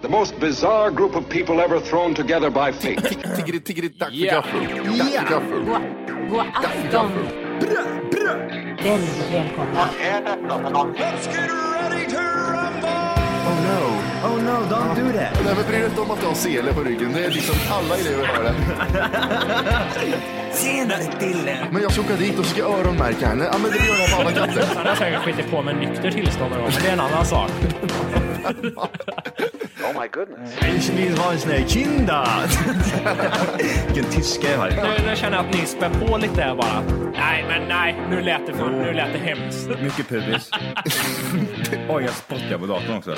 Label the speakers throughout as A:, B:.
A: The most bizarre group of people ever thrown together by fate.
B: Tiggeri, tiggeri, tack för
C: Ja.
B: gaffel. Tack för gaffel.
D: God, god afton. Väldigt välkomna.
B: Oh no.
E: Oh no, don't do that.
B: Nej men bry dig inte om att du har sele på ryggen. Det är liksom alla elever har det.
E: Senare, Dille.
B: Men jag ska åka dit och ska öronmärka henne. Ja men det gör jag på alla katter.
C: Han har säkert skitit på med nykter tillstånd någon gång, men det är en annan sak.
E: Ich vill ha en sån här kinda. Vilken tyska jag har.
C: Nu, nu känner jag att ni spär på lite här bara. Nej, men nej. Nu lät det, för, nu lät det hemskt.
F: Mycket pubis. Oj, jag spottar på datorn också.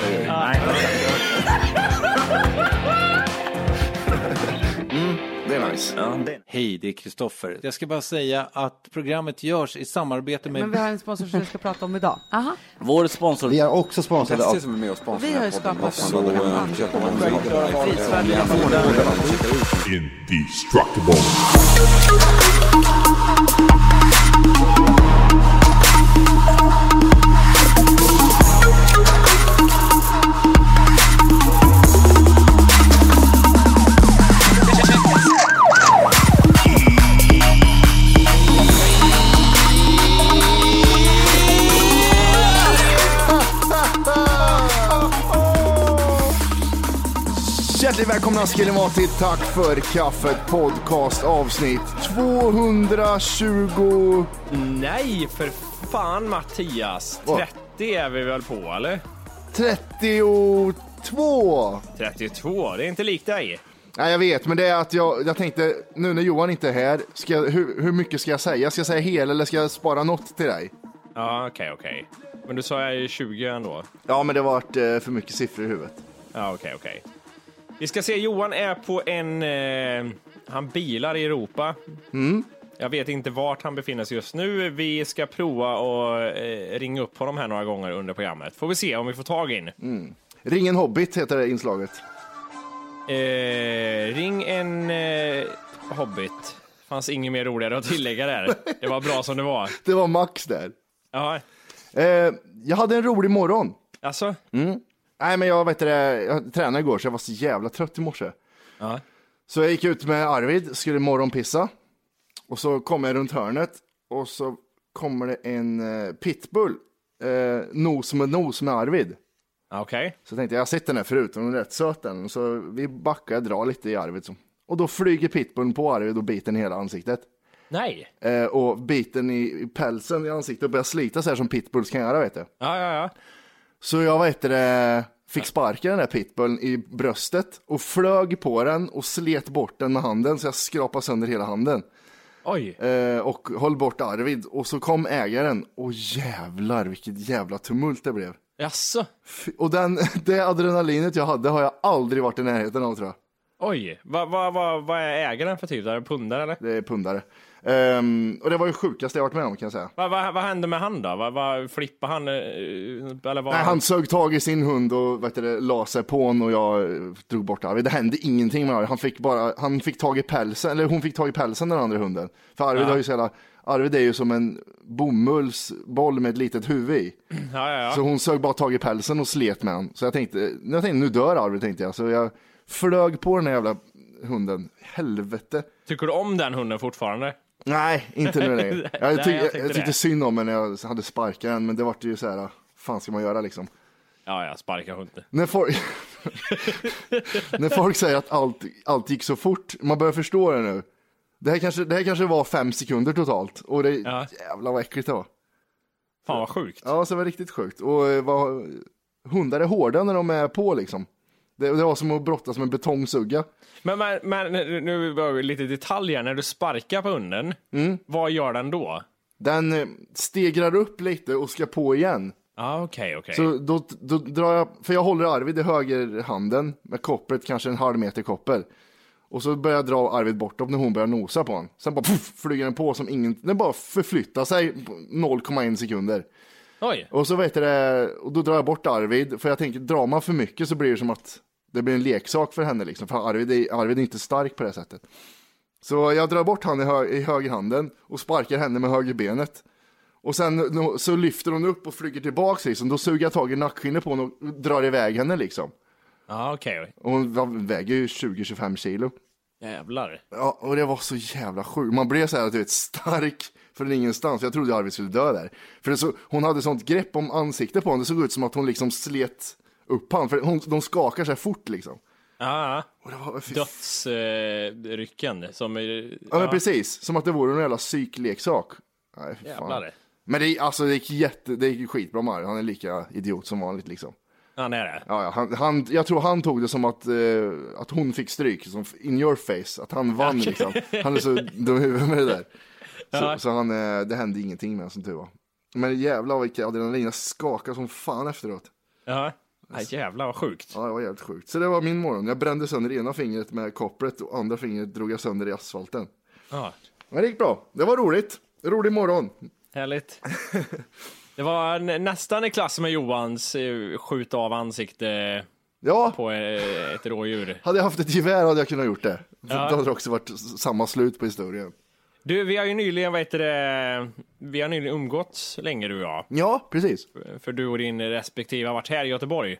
B: Det är nice.
G: Hej, det är Kristoffer. Jag ska bara säga att programmet görs i samarbete med...
H: Men vi har en sponsor som vi ska prata om idag. Aha.
I: Vår sponsor
J: Vi är också sponsrade av...
F: Betsy som är med och sponsrar
H: Vi har ju
F: den här podden.
H: skapat
F: Så,
H: en
F: eh,
H: annan
F: köper man
H: podd.
F: en
I: Prisvärd
F: sån här podd.
K: Indestructible.
B: Hjärtligt välkomna ska ni vara till Tack för kaffet podcast avsnitt 220...
C: Nej, för fan Mattias.
B: Vad?
C: 30 är vi väl på, eller?
B: 32.
C: 32, det är inte likt dig.
B: Nej jag vet men det är att jag, jag tänkte nu när Johan inte är här, ska, jag- hur, hur mycket ska jag säga? Ska jag säga hel eller ska jag spara något till dig?
C: Ja, okej, okej. Men du sa jag är 20 ändå.
B: Ja men det vart eh, för mycket siffror i huvudet.
C: Ja, okej, okej. Vi ska se, Johan är på en... Eh, han bilar i Europa. Jag vet inte vart han befinner sig just nu. Vi ska prova och eh, ringa upp honom här några gånger under programmet. Får vi se om vi får tag i in.
B: Ring en hobbit heter det inslaget.
C: Eh, ring en eh, hobbit. Fanns inget mer roligare att tillägga där. Det var bra som det var.
B: Det var Max där.
C: Ja,
B: Eh, jag hade en rolig morgon.
C: alltså.
B: Nej, men jag, vet det, jag tränade igår så jag var så jävla trött i morse.
C: Ja.
B: Så jag gick ut med Arvid, skulle morgonpissa. Och så kom jag runt hörnet och så kommer det en eh, pitbull. Eh, nos med nos med Arvid.
C: Okej.
B: Så tänkte jag, jag har sett den här förut, den är rätt söt den. Så vi backar, jag drar lite i Arvid. Så. Och då flyger pitbullen på Arvid och biter den i hela ansiktet.
C: Nej.
B: Eh, och biten i, i pälsen i ansiktet och börjar slita så här som pitbulls kan göra vet du.
C: Ja, ja, ja.
B: Så jag vad heter det, fick sparka den där pitbullen i bröstet och flög på den och slet bort den med handen så jag skrapade sönder hela handen.
C: Oj.
B: Eh, och höll bort Arvid och så kom ägaren och jävlar vilket jävla tumult det blev.
C: Jaså?
B: Fy- Och den, det adrenalinet jag hade har jag aldrig varit i närheten av tror jag.
C: Oj. Vad va, va, va är ägaren för typ? Är det pundare eller?
B: Det är pundare. Ehm, och det var ju sjukaste jag varit med om kan jag säga.
C: Vad va, vad hände med han då? Vad va, flippade han? eh, Eller vad?
B: Nej, han sög tag i sin hund och vet du, det, la sig på honom och jag eh, drog bort Arvid. Det hände ingenting med Arvid. Han fick, bara, han fick tag i pälsen, eller hon fick tag i pälsen den andra hunden. För Arvid, har ju så jävla, Arvid är ju som en bomullsboll med ett litet huvud i.
C: Ja, ja,
B: Så
C: ja.
B: hon sög bara tag i pälsen och slet med honom. Så jag tänkte, jag tänkte, nu dör Arvid tänkte jag. Så jag flög på den här jävla hunden. Helvete.
C: Tycker du om den hunden fortfarande?
B: Nej, inte nu längre.
C: Nej,
B: Jag,
C: jag
B: tyck, jag,
C: tänkte
B: jag
C: det.
B: tyckte synd om henne när jag hade sparkat den, men det vart ju så här, fan ska man göra liksom?
C: Ja, ja. Sparka hunden.
B: När folk, när folk säger att allt, allt gick så fort, man börjar förstå det nu. Det här kanske, det här kanske var fem sekunder totalt och det
C: Ja.
B: jävlar vad äckligt det var.
C: Fan vad sjukt.
B: Ja, så det var riktigt sjukt. Och eh, vad, hundar är hårda när de är på liksom. Det, det var som att brottas med en betongsugga.
C: Men, men, men nu behöver vi lite detaljer. När du sparkar på hunden,
B: Mm.
C: vad gör den då?
B: Den eh, stegrar upp lite och ska på igen.
C: Ah, okej, okej.
B: Så då, då drar jag, för jag håller Arvid i högerhanden med kopplet, kanske en halv meter koppel. Och så börjar jag dra Arvid bortåt när hon börjar nosa på honom. Sen bara puff, flyger den på som ingen, den bara förflyttar sig på 0,1 sekunder.
C: Oj.
B: Och så vet du det, och då drar jag bort Arvid, för jag tänker drar man för mycket så blir det som att det blir en leksak för henne liksom, för Arvid är, Arvid är inte stark på det sättet. Så jag drar bort han i, hö, i högerhanden och sparkar henne med högerbenet. Och sen nå- så lyfter hon upp och flyger tillbaks liksom, då suger jag tag i nackskinnet på honom och drar iväg henne liksom.
C: Ja, okej.
B: Och hon var- väger ju 20-25 kilo.
C: Jävlar.
B: Ja, och det var så jävla sjukt. Man blev så här, du vet, stark från ingenstans. Jag trodde Arvid skulle dö där. För det så, hon hade sånt grepp om ansiktet på honom. Det såg ut som att hon liksom slet upp honom. För hon, de skakar så här fort liksom.
C: Ja,
B: Och det var, fy
C: dödsrycken som... eh,
B: Ja, men precis. Som att det vore en jävla psykleksak. Nej, fy fan.
C: Jävlar.
B: Men det, är- alltså, det gick jätte, det gick skitbra med Harry. Han är lika idiot som vanligt liksom.
C: Han är det.
B: Ja, ja, han, han, jag tror han tog det som att, eh, att hon fick stryk, som in your face, att han vann liksom. Han är så dum i huvudet med det där. Så,
C: Ja.
B: så han, eh, det hände ingenting med honom som tur var. Men jävlar vilka adrenalin, jag skakade som fan efteråt.
C: Ja. Nej, jävlar vad sjukt.
B: Ja, det var jävligt sjukt. Så det var min morgon, jag brände sönder ena fingret med koppret och andra fingret drog jag sönder i asfalten.
C: Ja.
B: Men det gick bra, det var roligt. Rolig morgon.
C: Härligt. Det var n- nästan i klass med Johans eh, skjuta av ansikte
B: Ja,
C: på eh, ett rådjur.
B: hade jag haft ett gevär hade jag kunnat gjort det.
C: Ja.
B: Då hade det också varit s- samma slut på historien.
C: Du, vi har ju nyligen, vad heter det, vi har nyligen umgåtts länge du och jag.
B: Ja, precis.
C: För du och din respektive har varit här i Göteborg.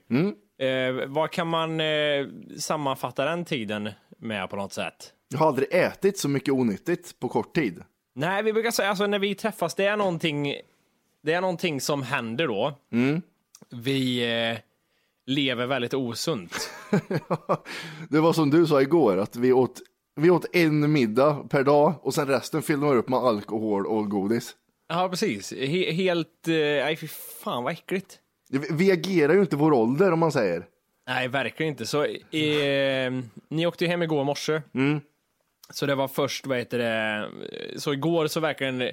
C: Eh, vad kan man eh, sammanfatta den tiden med på något sätt?
B: Jag har aldrig ätit så mycket onyttigt på kort tid.
C: Nej, vi brukar säga alltså när vi träffas, det är någonting, det är någonting som händer då. Vi eh, lever väldigt osunt.
B: Det var som du sa igår, att vi åt, vi åt en middag per dag och sen resten fyllde man upp med alkohol och godis.
C: Ja, precis. He- helt, eh, nej fy fan vad äckligt.
B: Vi- Vi agerar ju inte vår ålder om man säger.
C: Nej, verkligen inte. Så, eh, ni åkte ju hem igår morse. Så det var först, vad heter det, så igår så verkligen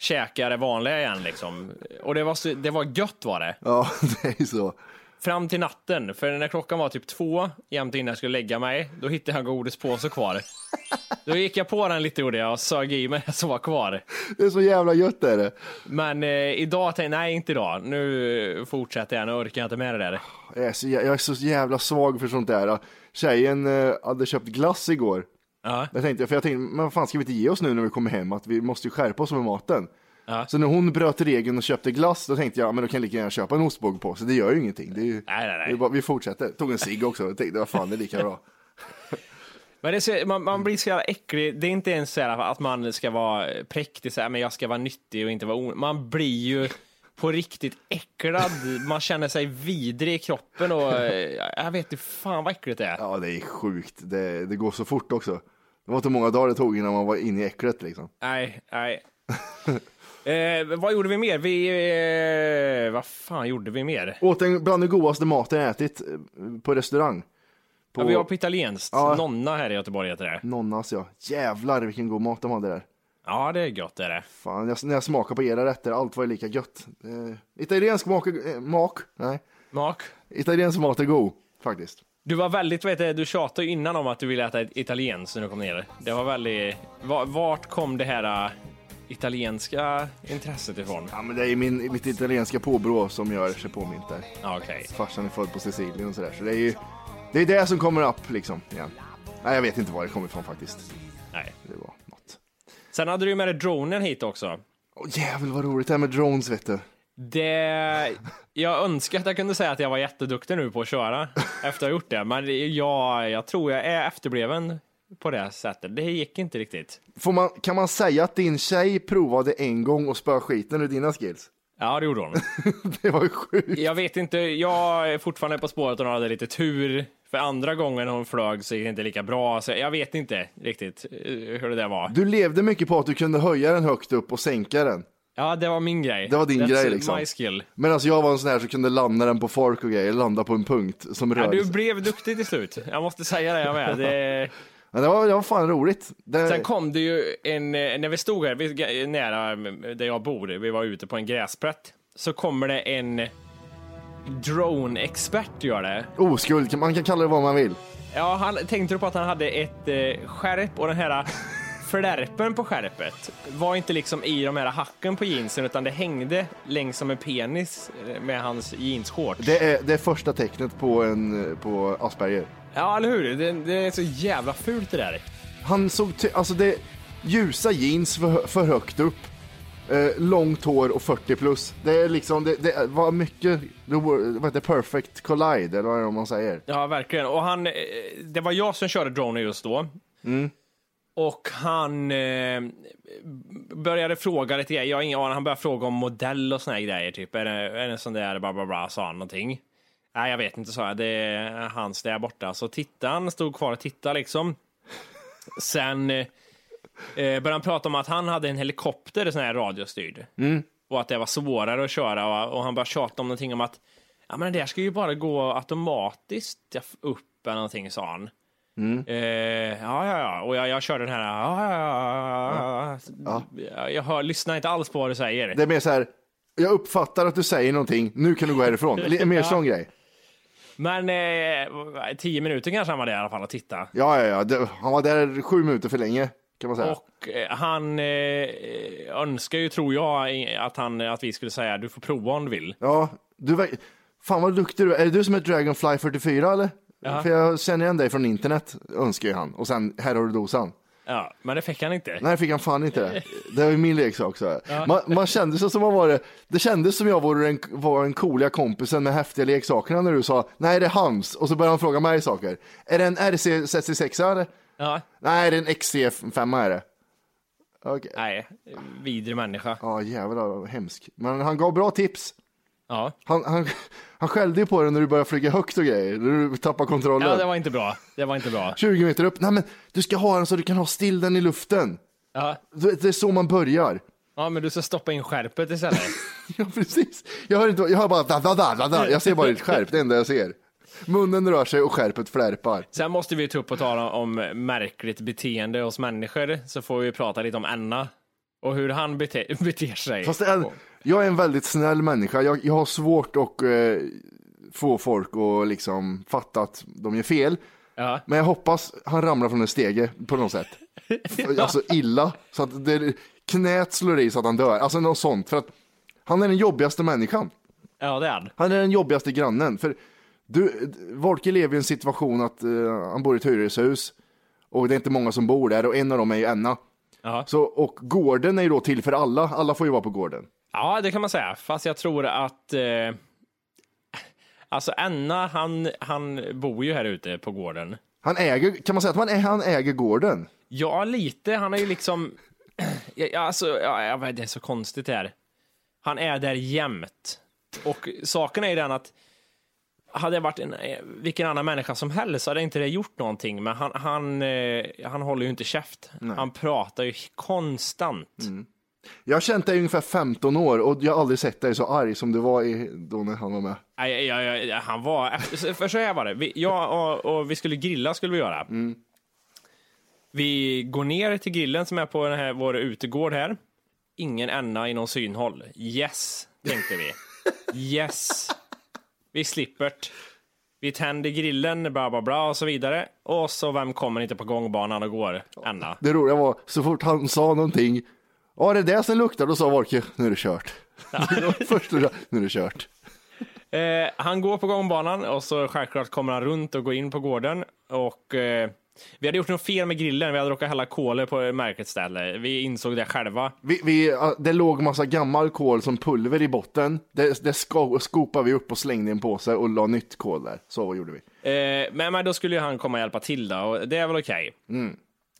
C: käka det vanliga igen liksom. Och det var, så- det var gött var det.
B: Ja, det är ju så.
C: Fram till natten, för när klockan var typ två, jämt innan jag skulle lägga mig, då hittade jag en godispåse kvar. Då gick jag på den lite gjorde jag och sög i mig det som var kvar.
B: Det är så jävla gött är det.
C: Men eh, idag tänkte jag, nej inte idag, nu fortsätter jag, nu orkar jag inte med det där.
B: Jag är så, jä- jag är så jävla svag för sånt där. Tjejen eh, hade köpt glass igår.
C: Ja.
B: Jag tänkte, för jag tänkte, men vad fan ska vi inte ge oss nu när vi kommer hem? Att vi måste ju skärpa oss med maten.
C: Ja.
B: Så när hon bröt regeln och köpte glass, då tänkte jag, men då kan jag lika gärna köpa en ostbåge på sig. Det gör ju ingenting. Det är ju,
C: Nej, nej, nej.
B: Det är bara, vi fortsätter. Tog en cigg också. Jag tänkte, vad fan, det är lika bra.
C: Men det är så, man, man blir så jävla äcklig. Det är inte ens så här att man ska vara präktig, så här, men jag ska vara nyttig och inte vara on... Man blir ju på riktigt äcklad. Man känner sig vidrig i kroppen och eh, jag vet inte fan vad äckligt det är.
B: Ja, det är sjukt. Det, det går så fort också. Det var inte många dagar det tog innan man var inne i äcklet liksom.
C: Nej, nej. eh, vad gjorde vi mer? Vi... Eh, vad fan gjorde vi mer?
B: Åt en bland den godaste maten jag ätit eh, på restaurang. På
C: Ja, vi var på italienskt.
B: Ja.
C: Nonna här i Göteborg heter det.
B: Nonnas ja. Jävlar vilken god mat de hade där.
C: Ja, det är gött det är det.
B: Fan, jag, när jag smakade på era rätter, allt var ju lika gött. Eh, italiensk mak, eh, mak, nej.
C: Mark?
B: Italiensk mat är god, faktiskt.
C: Du var väldigt, vet du, du tjatade ju innan om att du ville äta ett italienskt när du kom ner. Det var väldigt... va- Vart kom det här äh, italienska intresset ifrån?
B: Ja, men det är min, mitt italienska påbrå som gör sig påmint där.
C: Ja, Okej.
B: Farsan är född på Sicilien och sådär, så det är ju det, är det som kommer upp liksom. Igen. Nej, jag vet inte var det kommer ifrån faktiskt.
C: Nej.
B: Det var något.
C: Sen hade du ju med dig dronen hit också.
B: Åh jävlar vad roligt det här med drones vet du.
C: Det... Jag önskar att jag kunde säga att jag var jätteduktig nu på att köra efter att ha gjort det, men jag, jag tror jag är efterbliven på det sättet. Det gick inte riktigt.
B: Får man, kan man säga att din tjej provade en gång och spöade skiten ur dina skills?
C: Ja, det gjorde hon.
B: Det var ju sjukt.
C: Jag vet inte, jag är fortfarande på spåret och hon hade lite tur. För andra gången hon flög så gick det inte lika bra, så jag vet inte riktigt eh, hur det där var.
B: Du levde mycket på att du kunde höja den högt upp och sänka den.
C: Ja, det var min grej.
B: Det var din
C: That's
B: grej, liksom.
C: my skill.
B: Medan jag var en sån här som kunde landa den på folk och grejer, landa på en punkt som
C: Ja,
B: rörde
C: du
B: sig.
C: blev duktig till slut, jag måste säga det jag med. Det...
B: Men det, var, det var fan roligt. Det,
C: Sen kom det ju en, eh, när vi stod här vi, nära mm, där jag bor, vi var ute på en gräsplätt, så kommer det en drone-expert gör det.
B: Oskuld, man kan kalla det vad man vill.
C: Ja, han tänkte du på att han hade ett eh, skärp och den här flärpen på skärpet var inte liksom i de här hacken på jeansen utan det hängde längs som en penis eh, med hans jeansshorts.
B: Det är, det är första tecknet på, en, på Asperger.
C: Ja, eller hur? Det, det är så jävla fult det där.
B: Han såg, ty- alltså det, ljusa jeans för, för högt upp. Eh, långt hår och 40 plus. Det är liksom, det, det var mycket, det var, vad heter det, perfect collide eller vad är det man säger?
C: Ja, verkligen. Och han, eh, det var jag som körde Droner just då. Och han eh, började fråga lite grejer. Jag har ingen aning. Han började fråga om modell och såna här grejer. Typ. Är det, är det en sån där bla bla bla, sa han någonting. Nej, jag vet inte, sa jag. Det är hans där borta. Så tittaren stod kvar och tittade liksom. Sen eh, började han prata om att han hade en helikopter, sån här radiostyrd. Och att det var svårare att köra. Och, och han började tjata om någonting om att Ja, men det där ska ju bara gå automatiskt upp eller någonting, sa han. Eh, ja, ja, ja. Och jag, jag körde den här... Ja, ja, ja, ja, ja. Jag hör, lyssnar inte alls på vad du säger.
B: Det är mer så här, jag uppfattar att du säger någonting, nu kan du gå härifrån. Lite mer sån grej.
C: Men eh, tio minuter kanske han var där i alla fall och tittade.
B: Ja, ja, ja, det, han var där sju minuter för länge kan man säga.
C: Och eh, han eh, önskar ju, tror jag, i- att, han, att vi skulle säga du får prova om du vill.
B: Ja, du verk- Fan vad duktig du är. Är det du som är Dragonfly 44 eller? För jag känner igen dig från internet, önskar ju han. Och sen, här har du dosan.
C: Ja, men det fick han inte.
B: Nej, fick han fan inte det. Det var ju min leksak. Så här. Man, man kände sig som man var det. Det kändes som jag vore den, var den coola kompisen med häftiga leksakerna när du sa nej, det är hans. Och så började han fråga mig saker. Är det en RC 66 eller?
C: Ja,
B: Nej, det är en XC5 är det. Okej.
C: nej, vidrig människa.
B: Ja, jävlar vad hemsk. Men han gav bra tips.
C: Ja.
B: Han, han, han skällde ju på dig när du började flyga högt och grejer, när du tappade kontrollen.
C: ja, det var inte bra. Det var inte bra.
B: 20 meter upp, nej men du ska ha den så du kan ha still den i luften.
C: Ja.
B: Du vet, Det är så man börjar.
C: Ja, men du ska stoppa in skärpet istället.
B: Ja, precis. Jag hör, inte, jag hör bara da, da, da, da, da. Jag ser bara ett skärp, det enda jag ser. Munnen rör sig och skärpet flärpar.
C: Sen måste vi ta upp och tala om märkligt beteende hos människor, så får vi prata lite om Anna och hur han bete beter sig.
B: Fast det är, jag är en väldigt snäll människa. Jag, jag har svårt att eh, få folk att liksom fatta att de gör fel.
C: Ja.
B: Men jag hoppas han ramlar från en stege på något sätt. Alltså illa, så att det, knät slår i så att han dör. Alltså något sånt. För att han är den jobbigaste människan.
C: Ja, det är han.
B: Han är den jobbigaste grannen. För du, Volke lever i en situation att eh, han bor i ett hyreshus och det är inte många som bor där och en av dem är ju Enna.
C: Ja.
B: Så, och gården är ju då till för alla, alla får ju vara på gården.
C: ja, det kan man säga. Fast jag tror att... Eh, alltså, Anna, han, han bor ju här ute på gården.
B: Han äger, kan man säga att man, han äger gården?
C: Ja, lite. Han är ju liksom... Ja, ja, alltså, ja, jag vet, det är så konstigt det här. Han är där jämt. Och saken är ju den att hade jag varit en, eh, vilken annan människa som helst så hade inte det gjort någonting. Men han, han, eh, han håller ju inte käft. Han pratar ju konstant.
B: Jag har känt dig i ungefär 15 år och jag har aldrig sett dig så arg som du var i, då när han var med.
C: Nej, jag, jag, jag, han var... För så här var det. Vi, jag och, och vi skulle grilla, skulle vi göra. Vi går ner till grillen som är på den här, vår utegård här. Ingen änna i någon synhåll. Yes, tänkte vi. Yes. Vi slipper. det. Vi tänder grillen, bla bla bla och så vidare. Och så vem kommer inte på gångbanan och går? Anna.
B: Det roliga var, så fort han sa någonting, ja det är det som luktar, då sa Volke, nu är det kört. Det var Först då, nu är det kört.
C: Eh, han går på gångbanan och så självklart kommer han runt och går in på gården. Och, eh, vi hade gjort något fel med grillen. Vi hade råkat hälla kolet på ett märkligt ställe. Vi insåg det själva.
B: Vi, vi, det låg massa gammal kol som pulver i botten. Det, det sko- skopade vi upp och slängde i en påse och la nytt kol där. Så gjorde vi.
C: Eh, men, men då skulle ju han komma och hjälpa till då, och det är väl okej.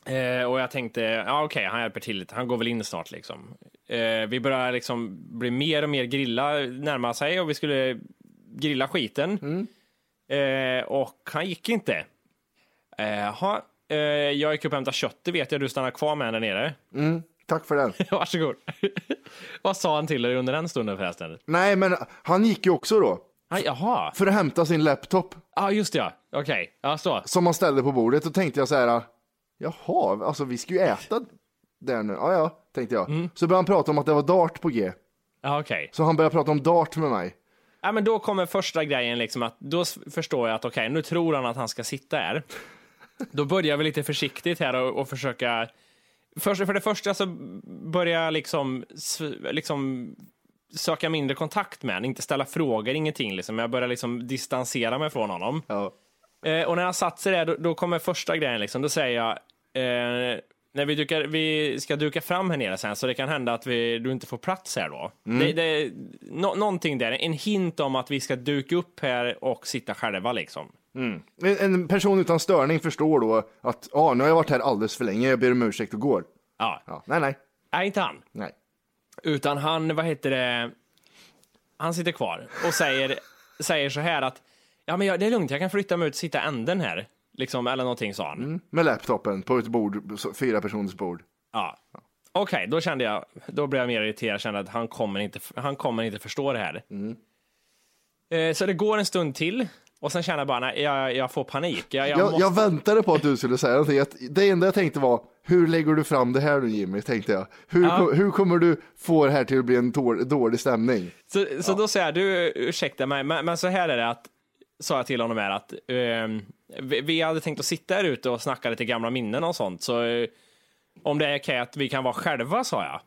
C: Eh, och jag tänkte, ja okej, han hjälper till lite, han går väl in snart liksom. Eh, vi börjar liksom bli mer och mer grilla, närma sig och vi skulle grilla skiten. Eh, och han gick inte. Eh, jaha. eh, jag gick upp och hämtade kött, det vet jag, du stannar kvar med henne där nere.
B: Tack för den.
C: Varsågod. Vad sa han till dig under den stunden förresten?
B: Nej, men han gick ju också då
C: Ah, jaha,
B: för att hämta sin laptop
C: ah, just det, ja, okej, ja så.
B: som han ställde på bordet. och tänkte jag så här, jaha, alltså vi ska ju äta där nu. Ja, ja, tänkte jag. Så började han prata om att det var dart på G.
C: Ja, okej.
B: Så han började prata om dart med mig.
C: Ja, men då kommer första grejen, liksom att då s- förstår jag att okej, nu tror han att han ska sitta här. Då börjar vi lite försiktigt här och, och försöka... Först, för det första så börjar jag liksom, s- liksom söka mindre kontakt med honom, inte ställa frågor, ingenting. Liksom. Jag börjar liksom distansera mig från honom.
B: Ja.
C: Eh, och när han satt sig där, då, då kommer första grejen. Liksom, då säger jag, eh, när vi, dukar, vi ska duka fram här nere sen, så det kan hända att vi, du inte får plats här då. Det, det, nå- någonting där, en hint om att vi ska duka upp här och sitta själva liksom.
B: En, en person utan störning förstår då att ah, nu har jag varit här alldeles för länge, jag ber om ursäkt och går.
C: Ja,
B: Ja, nej, nej,
C: nej inte han.
B: nej.
C: Utan han, vad heter det, han sitter kvar och säger, säger så här att ja men jag, det är lugnt, jag kan flytta mig ut och sitta änden här. Liksom, eller någonting sa han.
B: Med laptopen på ett bord, så- fyra personers bord.
C: Ja. Okej, då kände jag, då blev jag mer irriterad, kände att han kommer inte, han kommer inte förstå det här. Eh, så det går en stund till och sen känner jag bara, nej, jag, jag får panik. Jag, jag,
B: Jag, jag,
C: måste...
B: väntade på att du skulle säga någonting. Att det enda jag tänkte var, hur lägger du fram det här nu Jimmy? Tänkte jag. Hur, ko- hur kommer du få det här till att bli en tår, dålig stämning?
C: Så, så då säger jag, du ursäkta mig, men, men så här är det att, sa jag till honom här att ehm, vi, vi hade tänkt att sitta här ute och snacka lite gamla minnen och sånt, så eh, om det är okej att vi kan vara själva, sa jag.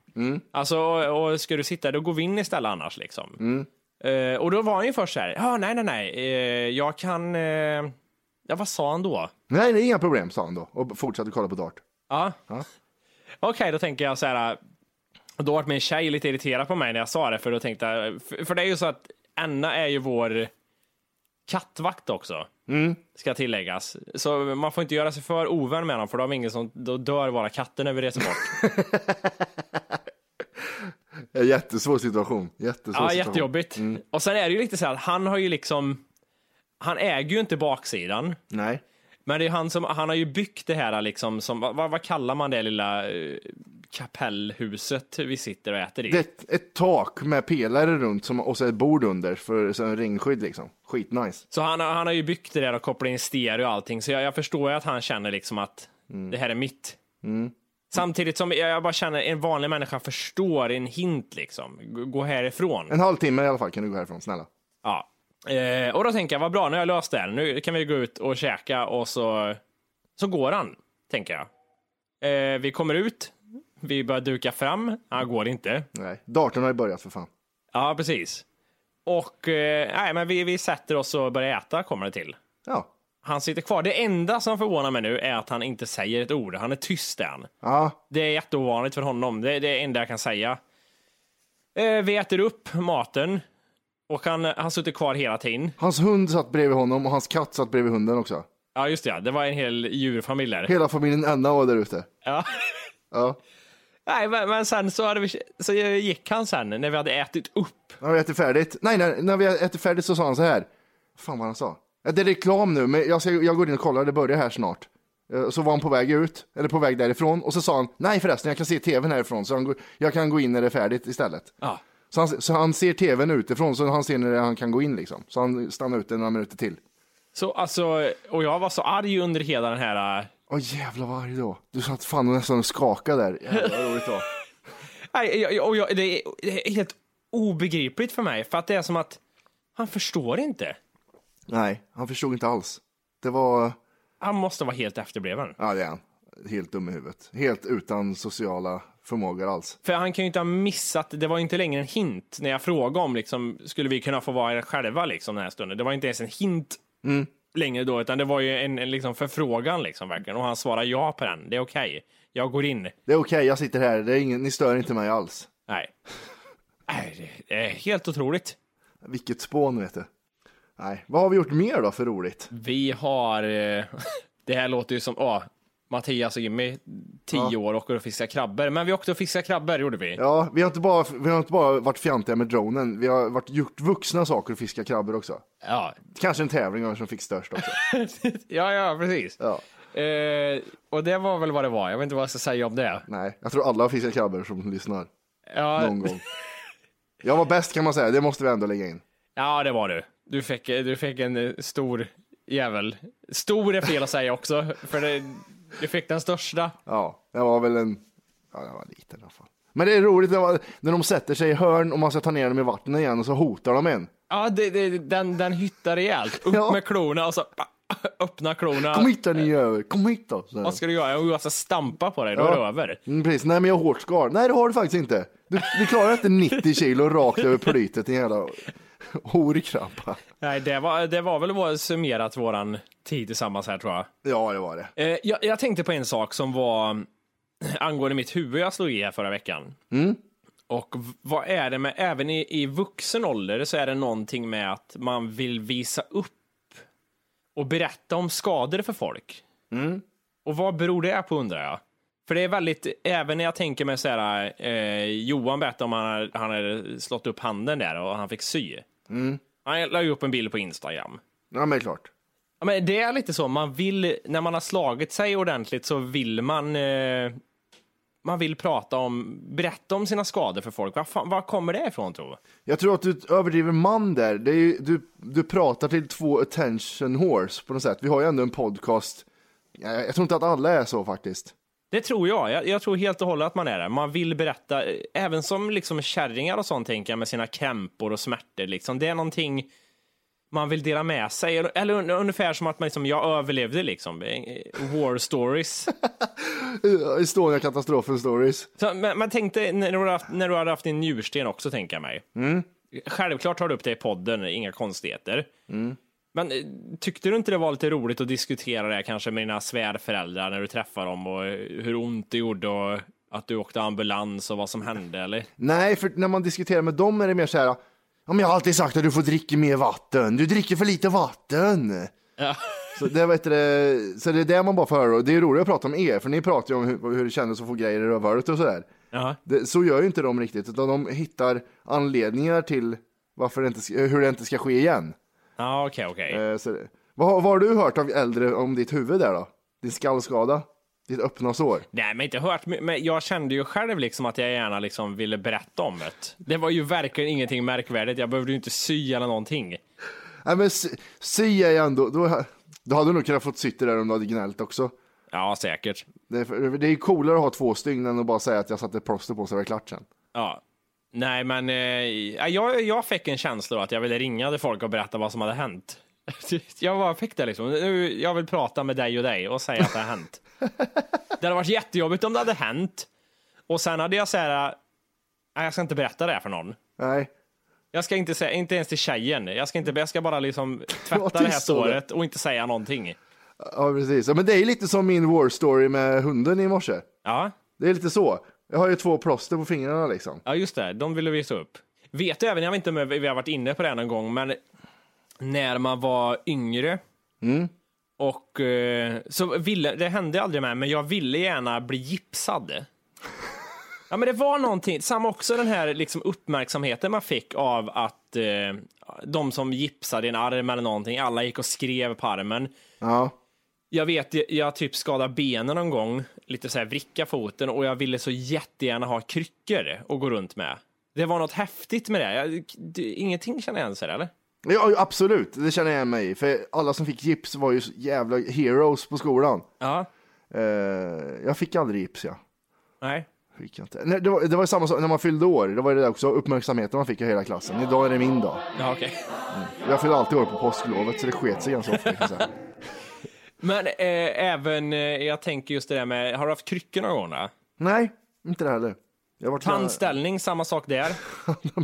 C: Alltså, och, och ska du sitta då går vi in istället annars liksom. Eh, och då var han ju först så här, ja nej nej nej, eh, jag kan, eh, ja vad sa han då?
B: Nej, det är inga problem, sa han då och fortsatte kolla på dart.
C: Ja. Okej, då tänker jag så här. äh, Då vart min tjej lite irriterad på mig när jag sa det, för då tänkte jag, äh, för- för det är ju så att Anna är ju vår kattvakt också, ska tilläggas. Så man får inte göra sig för ovän med dem, för då, har vi ingen som, då dör våra katter när vi reser bort.
B: En Eh, jättesvår situation. Jättesvår
C: ja,
B: situation.
C: jättejobbigt. Och sen är det ju lite så här att han har ju liksom, han äger ju inte baksidan.
B: Nej.
C: Men det är han som, han har ju byggt det här liksom, som, vad, vad vad kallar man det lilla eh, kapellhuset vi sitter och äter i?
B: Det är ett, ett tak med pelare runt som, och så ett bord under för så en ringskydd liksom. Skitnice.
C: Så han, har- han har ju byggt det där och kopplat in stereo och allting, så jag, jag förstår ju att han känner liksom att det här är mitt. Samtidigt som jag, jag bara känner en vanlig människa förstår en hint liksom. G- Gå härifrån.
B: En halvtimme i alla fall kan du gå härifrån, snälla.
C: Ja. Eh, och då tänker jag, vad bra, nu har jag löst det här. Nu kan vi gå ut och käka och så, så går han, tänker jag. Eh, vi kommer ut, vi börjar duka fram. Han går inte.
B: Nej, datorn har ju börjat för fan.
C: Ja, precis. Och eh, nej, men vi, vi sätter oss och börjar äta, kommer det till.
B: Ja,
C: Han sitter kvar. Det enda som förvånar mig nu är att han inte säger ett ord. Han är tyst än.
B: ja,
C: Det är jätteovanligt för honom. Det är det enda jag kan säga. Eh, Vi äter upp maten och han, han sitter kvar hela tiden.
B: hans hund satt bredvid honom och hans katt satt bredvid hunden också.
C: Ja, just det. ja. Det var en hel djurfamilj där.
B: Hela familjen Anna var där ute.
C: Ja.
B: Ja,
C: Nej, men, men sen så, hade vi, så gick han sen när vi hade ätit upp.
B: när vi ätit färdigt. Nej, när, när vi ätit färdigt så sa han så här. Fan vad han sa. Ja, det är reklam nu, men jag, ska, jag går in och kollar, det börjar här snart. Eh, Så var han på väg ut, eller på väg därifrån, och så sa han, nej förresten, jag kan se tvn härifrån, så han går, jag kan gå in när det är färdigt istället.
C: Ja.
B: Så han, så han ser tvn utifrån, så han ser när han kan gå in liksom. Så han stannar ute några minuter till.
C: Så, alltså, och jag var så arg under hela den här... eh,
B: Åh jävlar vad arg då. Du satt fan och nästan skakade där. Jävlar vad roligt då.
C: Nej, jag, jag, och jag, det, är, det är helt obegripligt för mig, för att det är som att han förstår inte.
B: Nej, han förstod inte alls. Det var,
C: Han måste vara helt efterbliven.
B: ja det är han. Helt dum i huvudet. Helt utan sociala förmågor alls.
C: För han kan ju inte ha missat, det var ju inte längre en hint när jag frågade om liksom, skulle vi kunna få vara här själva liksom den här stunden. Det var inte ens en hint
B: Mm.
C: längre då, utan det var ju en, en liksom förfrågan liksom verkligen. Och han svarar ja på den, det är okej. Jag går in.
B: Det är okej, jag sitter här. Det är ingen, ni stör inte mig alls.
C: Nej. Nej, det är helt otroligt.
B: Vilket spån vet du. Nej, vad har vi gjort mer då för roligt?
C: Vi har, eh, det här låter ju som, ja, Mattias och Jimmy, tio år, åker och fiskar krabbor. Men vi åkte och fiskade krabbor, gjorde vi.
B: Ja, vi har inte bara, vi har inte bara varit fjantiga med dronen. Vi har varit, gjort vuxna saker och fiskat krabbor också.
C: Ja,
B: Kanske en tävling om som fick störst också.
C: ja, ja precis.
B: Ja.
C: Eh, och det var väl vad det var, jag vet inte vad jag ska säga om det.
B: Nej, jag tror alla har fiskat krabbor som lyssnar.
C: Ja,
B: Någon gång. Jag var bäst kan man säga, det måste vi ändå lägga in.
C: Ja, det var du. Du fick, du fick en eh, stor jävel. Stor är fel att säga också, för det, du fick den största.
B: Ja, det var väl en... Ja, det var liten i alla fall. Men det är roligt det var, när de sätter sig i hörn och man ska ta ner dem i vattnet igen och så hotar de en.
C: Ja, det, det, den, den hyttar rejält. Upp
B: Ja.
C: med klorna och så pa, öppna klorna.
B: Kom hit då ni över, kom hit då. Så här.
C: Vad ska du göra? Jo, jag ska stampa på dig, då är det över.
B: Mm, precis, nej men jag har hårt skal. Nej det har du faktiskt inte. Du, du klarar inte 90 kilo rakt över plytet, din jävla horkrabba.
C: Nej, det var, det var väl vår, summerat våran tid tillsammans här tror jag.
B: Ja det var det.
C: Eh, jag, jag tänkte på en sak som var angående mitt huvud jag slog i här förra veckan. Och v- vad är det med, även i, i vuxen ålder så är det någonting med att man vill visa upp och berätta om skador för folk. Och vad beror det på undrar jag? För det är väldigt, även när jag tänker mig så här, eh, Johan berättade om han, han hade slått upp handen där och han fick sy. Han la ju upp en bild på Instagram.
B: Ja, men det är klart.
C: Ja, men det är lite så, man vill, när man har slagit sig ordentligt så vill man eh, man vill prata om, berätta om sina skador för folk. Var, fan, var kommer det ifrån tror du?
B: Jag tror att du överdriver man där. Det är ju, du, du pratar till två attention horse på något sätt. Vi har ju ändå en podcast. Jag, jag tror inte att alla är så faktiskt.
C: Det tror jag. jag. Jag tror helt och hållet att man är det. Man vill berätta, eh, även som liksom kärringar och sånt tänker jag med sina krämpor och smärtor. Liksom. Det är någonting man vill dela med sig. Eller, eller un- ungefär som att man liksom, jag överlevde liksom. Eh, War stories.
B: Eh, Estonia-katastrofen stories.
C: Så, men, men tänk dig när du, har haft, när du hade haft din njursten också, tänker jag mig. Självklart tar du upp det i podden, inga konstigheter. Men eh, tyckte du inte det var lite roligt att diskutera det här kanske med dina svärföräldrar när du träffar dem och eh, hur ont det gjorde och att du åkte ambulans och vad som hände eller?
B: Nej, för när man diskuterar med dem är det mer så här. Ja, men jag har alltid sagt att du får dricka mer vatten. Du dricker för lite vatten.
C: Ja.
B: Så det, vet du, det- så det är det man bara får höra. Och det är roligt att prata om er, för ni pratar ju om hur, hur det kändes att få grejer i rövhålet och sådär.
C: Ja.
B: Det, så gör ju inte de riktigt, utan de hittar anledningar till varför det inte, ska- hur det inte ska ske igen.
C: Ja, okej, okej.
B: Eh, Så, det- vad, har- vad har du hört av äldre om ditt huvud där då? Din skallskada? Ditt öppna sår?
C: Nej, men inte hört. my- Men jag kände ju själv liksom att jag gärna liksom ville berätta om det. Det var ju verkligen ingenting märkvärdigt. Jag behövde ju inte sy eller någonting.
B: Nej men sy- sy är ju ändå, då, då hade du nog kunnat fått sitta där om du hade gnällt också.
C: Ja, säkert.
B: Det är, för- det är ju coolare att ha två stygn än att bara säga att jag satte ett plåster på så var det klart sen.
C: Ja. Nej, men eh, jag, jag fick en känsla då att jag ville ringa till folk och berätta vad som hade hänt. Jag bara fick det liksom. Nu, jag vill prata med dig och dig och säga att det har hänt. Det hade varit jättejobbigt om det hade hänt. Och sen hade jag så här, nej, jag ska inte berätta det här för någon.
B: Nej,
C: Jag ska inte säga, inte ens till tjejen. Jag ska, inte, jag ska bara liksom
B: Var
C: tvätta det här
B: tyst om det.
C: såret och inte säga någonting.
B: ja precis. Ja, men det är ju lite som min war story med hunden i morse.
C: Ja,
B: Det är lite så. Jag har ju två plåster på fingrarna liksom.
C: Ja, just det. De ville visa upp. Vet du även, jag vet inte om vi har varit inne på det här någon gång, men när man var yngre och eh, så ville, det hände aldrig med men jag ville gärna bli gipsad. Ja, men det var någonting, samma också den här liksom uppmärksamheten man fick av att eh, de som gipsade en arm eller någonting, alla gick och skrev på armen.
B: Ja.
C: Jag vet, jag, jag typ skadade benen någon gång, lite så här vricka foten och jag ville så jättegärna ha kryckor och gå runt med. Det var något häftigt med det. Jag, det ingenting känner jag igen sig eller?
B: Ja, ja, absolut. Det känner jag igen mig i. För alla som fick gips var ju så jävla heroes på skolan.
C: Ja.
B: Eh, jag fick aldrig gips, ja.
C: Nej.
B: Fick jag inte. Nej, det, var, det var ju samma sak när man fyllde år. Det var ju det där också, uppmärksamheten man fick av hela klassen. Idag är det min dag.
C: Ja, okej.
B: Jag fyllde alltid år på påsklovet, så det sket sig ganska ofta. kan jag säga.
C: Men eh, även, eh, jag tänker just det där med, har du haft kryckor någon gång? Då?
B: Nej, inte det heller. Jag var
C: Tandställning, samma sak där.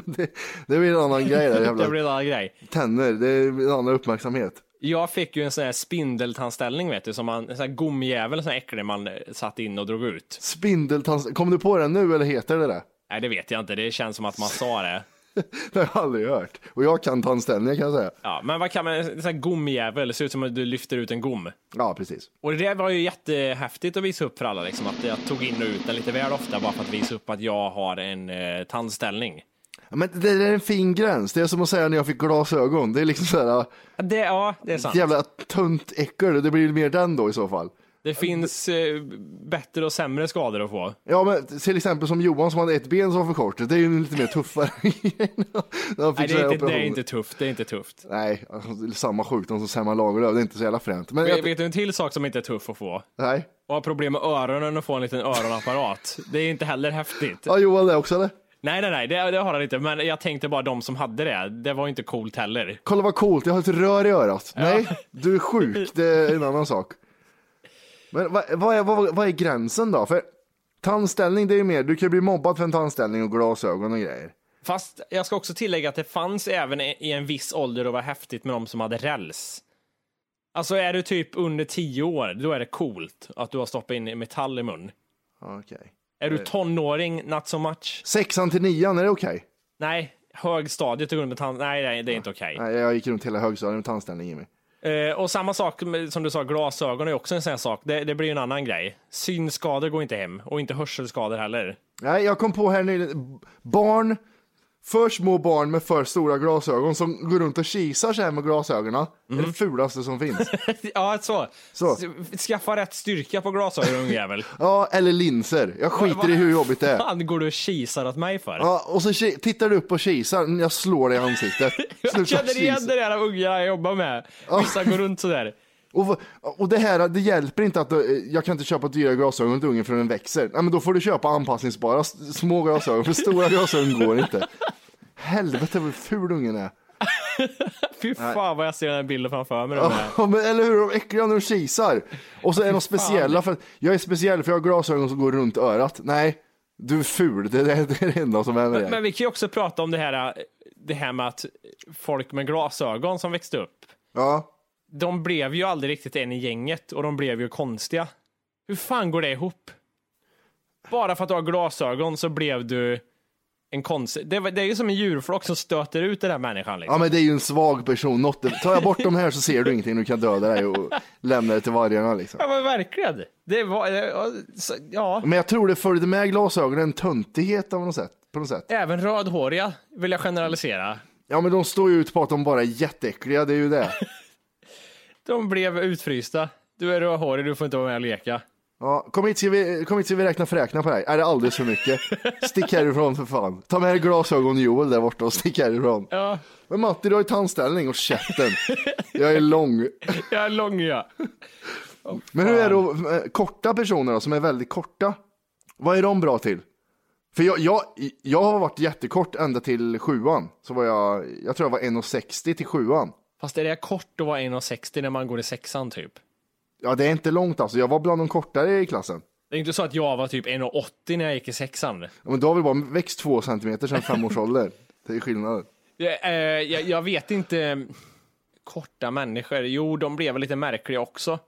B: det, det blir en annan grej där,
C: Det
B: jävla
C: blir en annan grej.
B: tänder. Det är en annan uppmärksamhet.
C: Jag fick ju en sån här spindeltandställning vet du, som man, en sån här gomjävel, sån här äcklig man eh, satte in och drog ut.
B: Spindeltands... Kom du på den nu eller heter det det?
C: Nej, det vet jag inte. Det känns som att man sa det.
B: Det har jag aldrig hört. Och jag kan tandställningar kan jag säga.
C: Ja, men vad kan man, en sån här gomjävel, det ser ut som att du lyfter ut en gom.
B: Ja, precis.
C: Och det där var ju jättehäftigt att visa upp för alla, liksom, att jag tog in och ut den lite väl ofta bara för att visa upp att jag har en eh, tandställning.
B: Ja, Men det där är en fin gräns. Det är som att säga när jag fick glasögon. Det är liksom så här,
C: Ja, Det, ja, det är sant.
B: ett jävla tunt äckel. Det blir mer den då i så fall.
C: Det finns eh, bättre och sämre skador att få.
B: Ja, men till exempel som Johan som hade ett ben som var för kort. Det är ju en lite mer tuffare grej. när han
C: Nej,
B: fick
C: det
B: så här
C: är, inte, det är
B: operationer.
C: inte tufft. Det är inte tufft.
B: Nej, alltså, det är samma sjukdom som Selma Lagerlöf. Det är inte så jävla fränt. Men
C: Vet,
B: jag,
C: vet du en till sak som inte är tuff att få?
B: nej.
C: Att ha problem med öronen och få en liten öronapparat. Det är inte heller häftigt.
B: Ja, Johan det också eller?
C: Nej, nej, nej, det, det har han inte. Men jag tänkte bara de som hade det. Det var ju inte coolt heller.
B: Kolla vad coolt, jag har ett rör i örat. Nej, du är sjuk, det är en annan sak. Men vad, vad, är, vad, vad är gränsen då? För tandställning, det är ju mer, du kan ju bli mobbad för en tandställning och glasögon och grejer.
C: Fast jag ska också tillägga att det fanns även i en viss ålder och var häftigt med de som hade räls. Alltså är du typ under 10 år, då är det coolt att du har stoppat in metall i mun.
B: Okej.
C: Är du tonåring, not so much?
B: Sexan till nian, är det okej?
C: Nej, högstadiet och går runt med tand... Nej, nej, det är inte okej.
B: Nej, jag gick runt hela högstadiet med tandställning i mig.
C: Eh, och samma sak med, som du sa, glasögon är också en sån här sak. Det, det blir ju en annan grej. Synskador går inte hem och inte hörselskador heller.
B: Nej, jag kom på här nyligen, barn, för små barn med för stora glasögon som går runt och kisar så här med glasögonen. Det är
C: Mm.
B: det fulaste som finns.
C: ja, så.
B: Så.
C: S- Skaffa rätt styrka på glasögon, ungjävel.
B: Ja, eller linser. Jag skiter i hur jobbigt det är.
C: fan går du och kisar åt mig för?
B: Ja, och så ki- tittar du upp och kisar, Mm, jag slår dig i ansiktet.
C: jag
B: Sluta
C: känner igen
B: kisa.
C: det där av ungarna jag jobbar med. Vissa går runt sådär.
B: Och, v- och det här, det hjälper inte att eh, jag kan inte köpa dyra glasögon till ungen för den växer. Nej, men då får du köpa anpassningsbara s- små glasögon, för stora glasögon går inte. Helvete vad ful ungen är.
C: Fy fan vad jag ser den här bilden framför mig. då.
B: Ja, men, eller hur, de är äckliga när de kisar. Och så är de speciella, för att, jag är speciell för jag har glasögon som går runt örat. Nej, du är ful, det, det, det är det enda som är med
C: Men
B: dig.
C: vi kan ju också prata om det här, det här med att folk med glasögon som växte upp,
B: Ja,
C: de blev ju aldrig riktigt en i gänget och de blev ju konstiga. Hur fan går det ihop? Bara för att du har glasögon så blev du en konstig... Det, var- det är ju som en djurflock som stöter ut den där människan. Liksom.
B: ja, men det är ju en svag person. Något, tar jag bort dem här så ser du ingenting, du kan döda dig och lämna det till vargarna liksom.
C: Ja, men verkligen. Det var... ja, så- Ja.
B: Men jag tror det följde med glasögonen en töntighet av något sätt, på något sätt.
C: Även rödhåriga vill jag generalisera.
B: Ja men de står ju ut på att de bara är jätteäckliga, det är ju det.
C: De blev utfrysta. Du är rödhårig, du får inte vara med och leka.
B: Ja, kom, hit, ska vi, kom hit ska vi räkna fräknar på dig. Är det alldeles för mycket? Stick härifrån för fan. Ta med dig glasögon Joel där borta och stick härifrån.
C: Ja,
B: Men Matti du har ju tandställning och käften. Jag är lång.
C: jag är lång ja.
B: Men hur är det då med korta personer då, som är väldigt korta? Vad är de bra till? För jag, jag, jag har varit jättekort ända till sjuan. Så var jag, jag tror jag var 1,60 till sjuan.
C: Fast är det kort att vara 1,60 när man går i sexan typ?
B: Ja, det är inte långt alltså. Jag var bland de kortare i klassen.
C: Det är inte så att jag var typ 1,80 när jag gick i sexan.
B: Ja, Men då har vi bara växt två centimeter sedan fem års ålder. Det är skillnaden.
C: Jag, eh, jag, jag vet inte. Korta människor, jo de blev väl lite märkliga också.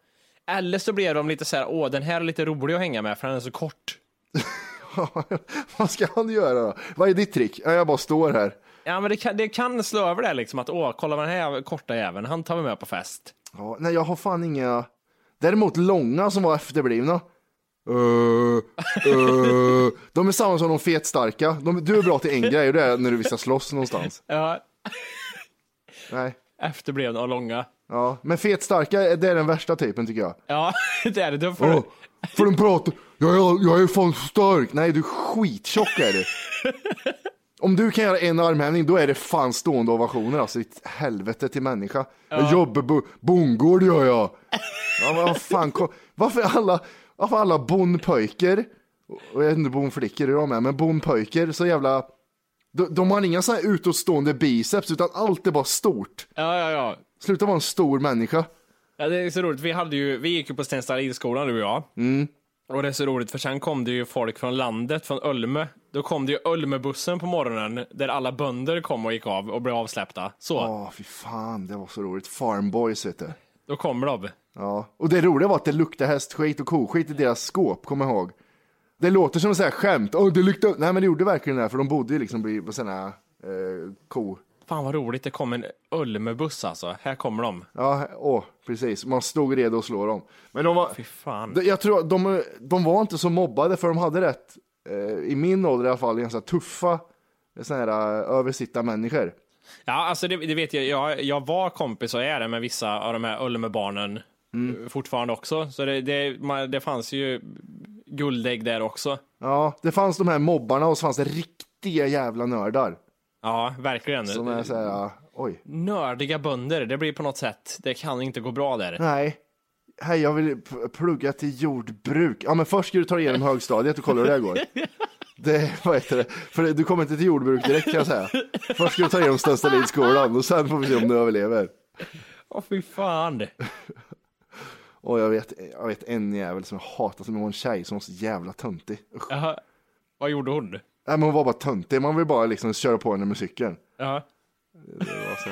C: Eller så blev de lite så här, åh den här är lite rolig att hänga med för den är så kort.
B: Vad ska han göra då? Vad är ditt trick? Ja, jag bara står här.
C: Ja men det kan, det kan slå över det liksom att, åh kolla vad den här korta jäveln, han tar vi med på fest.
B: Ja, nej, jag har fan inga... Däremot långa som var efterblivna. Eh, eh. de är samma som de fetstarka. De, du är bra till en grej och det är när du vill slåss någonstans.
C: Ja,
B: Nej.
C: efterblivna och långa.
B: Ja. Men fetstarka, det är den värsta typen tycker jag.
C: Ja, det är det. Då får
B: Åh,
C: du-
B: för den pratar, jag, jag, jag är fan stark. Nej, du är skittjock är du. Om du kan göra en armhävning, då är det fan stående ovationer. Alltså ditt helvete till människa. Jag jobbar på bondgård gör jag. Ja, men vad fan, kom, varför alla, varför alla bondpojker, och jag vet inte bondflickor hur de är, men bondpojker så jävla, de, de har inga så här utåtstående biceps utan allt är bara stort.
C: Ja, ja, ja.
B: Sluta vara en stor människa.
C: Ja, det är så roligt. Vi, hade ju, vi gick ju på Stenstalidskolan du och jag.
B: Mm.
C: Och det är så roligt för sen kom det ju folk från landet, från Ölme. Då kom det ju Ölmebussen på morgonen där alla bönder kom och gick av och blev avsläppta. Så,
B: Åh, fy fan, det var så roligt. Farmboys vet du.
C: då kommer de.
B: Ja, och det roliga var att det luktade hästskit och koskit i deras skåp, kommer jag ihåg. Det låter som ett skämt, Åh, det luktar... Nej men det gjorde verkligen det, för de bodde ju liksom i- på sådana eh, ko.
C: Fan vad roligt, det kom en Ölmebuss alltså. Här kommer de.
B: Ja, åh, precis. Man stod redo att slå dem. Men de var...
C: Fy fan.
B: De- Jag tror att de, de var inte så mobbade, för de hade rätt, eh, i min ålder i alla fall, ganska tuffa sådana här eh, översitta människor.
C: Ja, alltså det, det vet jag. jag. Jag var kompis och är det med vissa av de här Ölmebarnen
B: Mm.
C: eh, fortfarande också. Så det, det, man, det fanns ju guldägg där också.
B: Ja, det fanns de här mobbarna och så fanns det riktiga jävla nördar.
C: Ja, verkligen.
B: Som är så här, eh, oj.
C: nördiga bönder, det blir på något sätt, det kan inte gå bra där.
B: Nej. Hej, jag vill p- plugga till jordbruk. Ja, men först ska du ta dig igenom högstadiet och kolla hur det här går. Det, vad heter det? För du kommer inte till jordbruk direkt kan jag säga. Först ska du ta dig igenom Stönstalidsskolan och sen får vi se om du överlever.
C: Åh fy fan.
B: Och jag vet, jag vet en jävel som jag hatar, som var en tjej som var så jävla töntig. Usch.
C: Jaha. Vad gjorde hon?
B: Nej, men hon var bara töntig, man vill bara liksom köra på henne med cykeln.
C: Jaha.
B: Det var så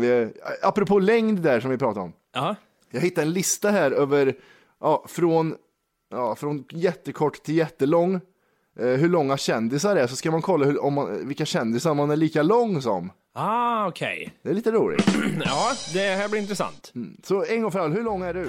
B: här, eh, apropå längd där som vi pratade om.
C: Jaha.
B: Jag hittade en lista här över, ja, från ja, från jättekort till jättelång, eh, hur långa kändisar är, så ska man kolla hur, om man, vilka kändisar man är lika lång som.
C: Ah, okej.
B: Det är lite roligt.
C: Ja, det här blir intressant.
B: Så en gång för alla, hur lång är du?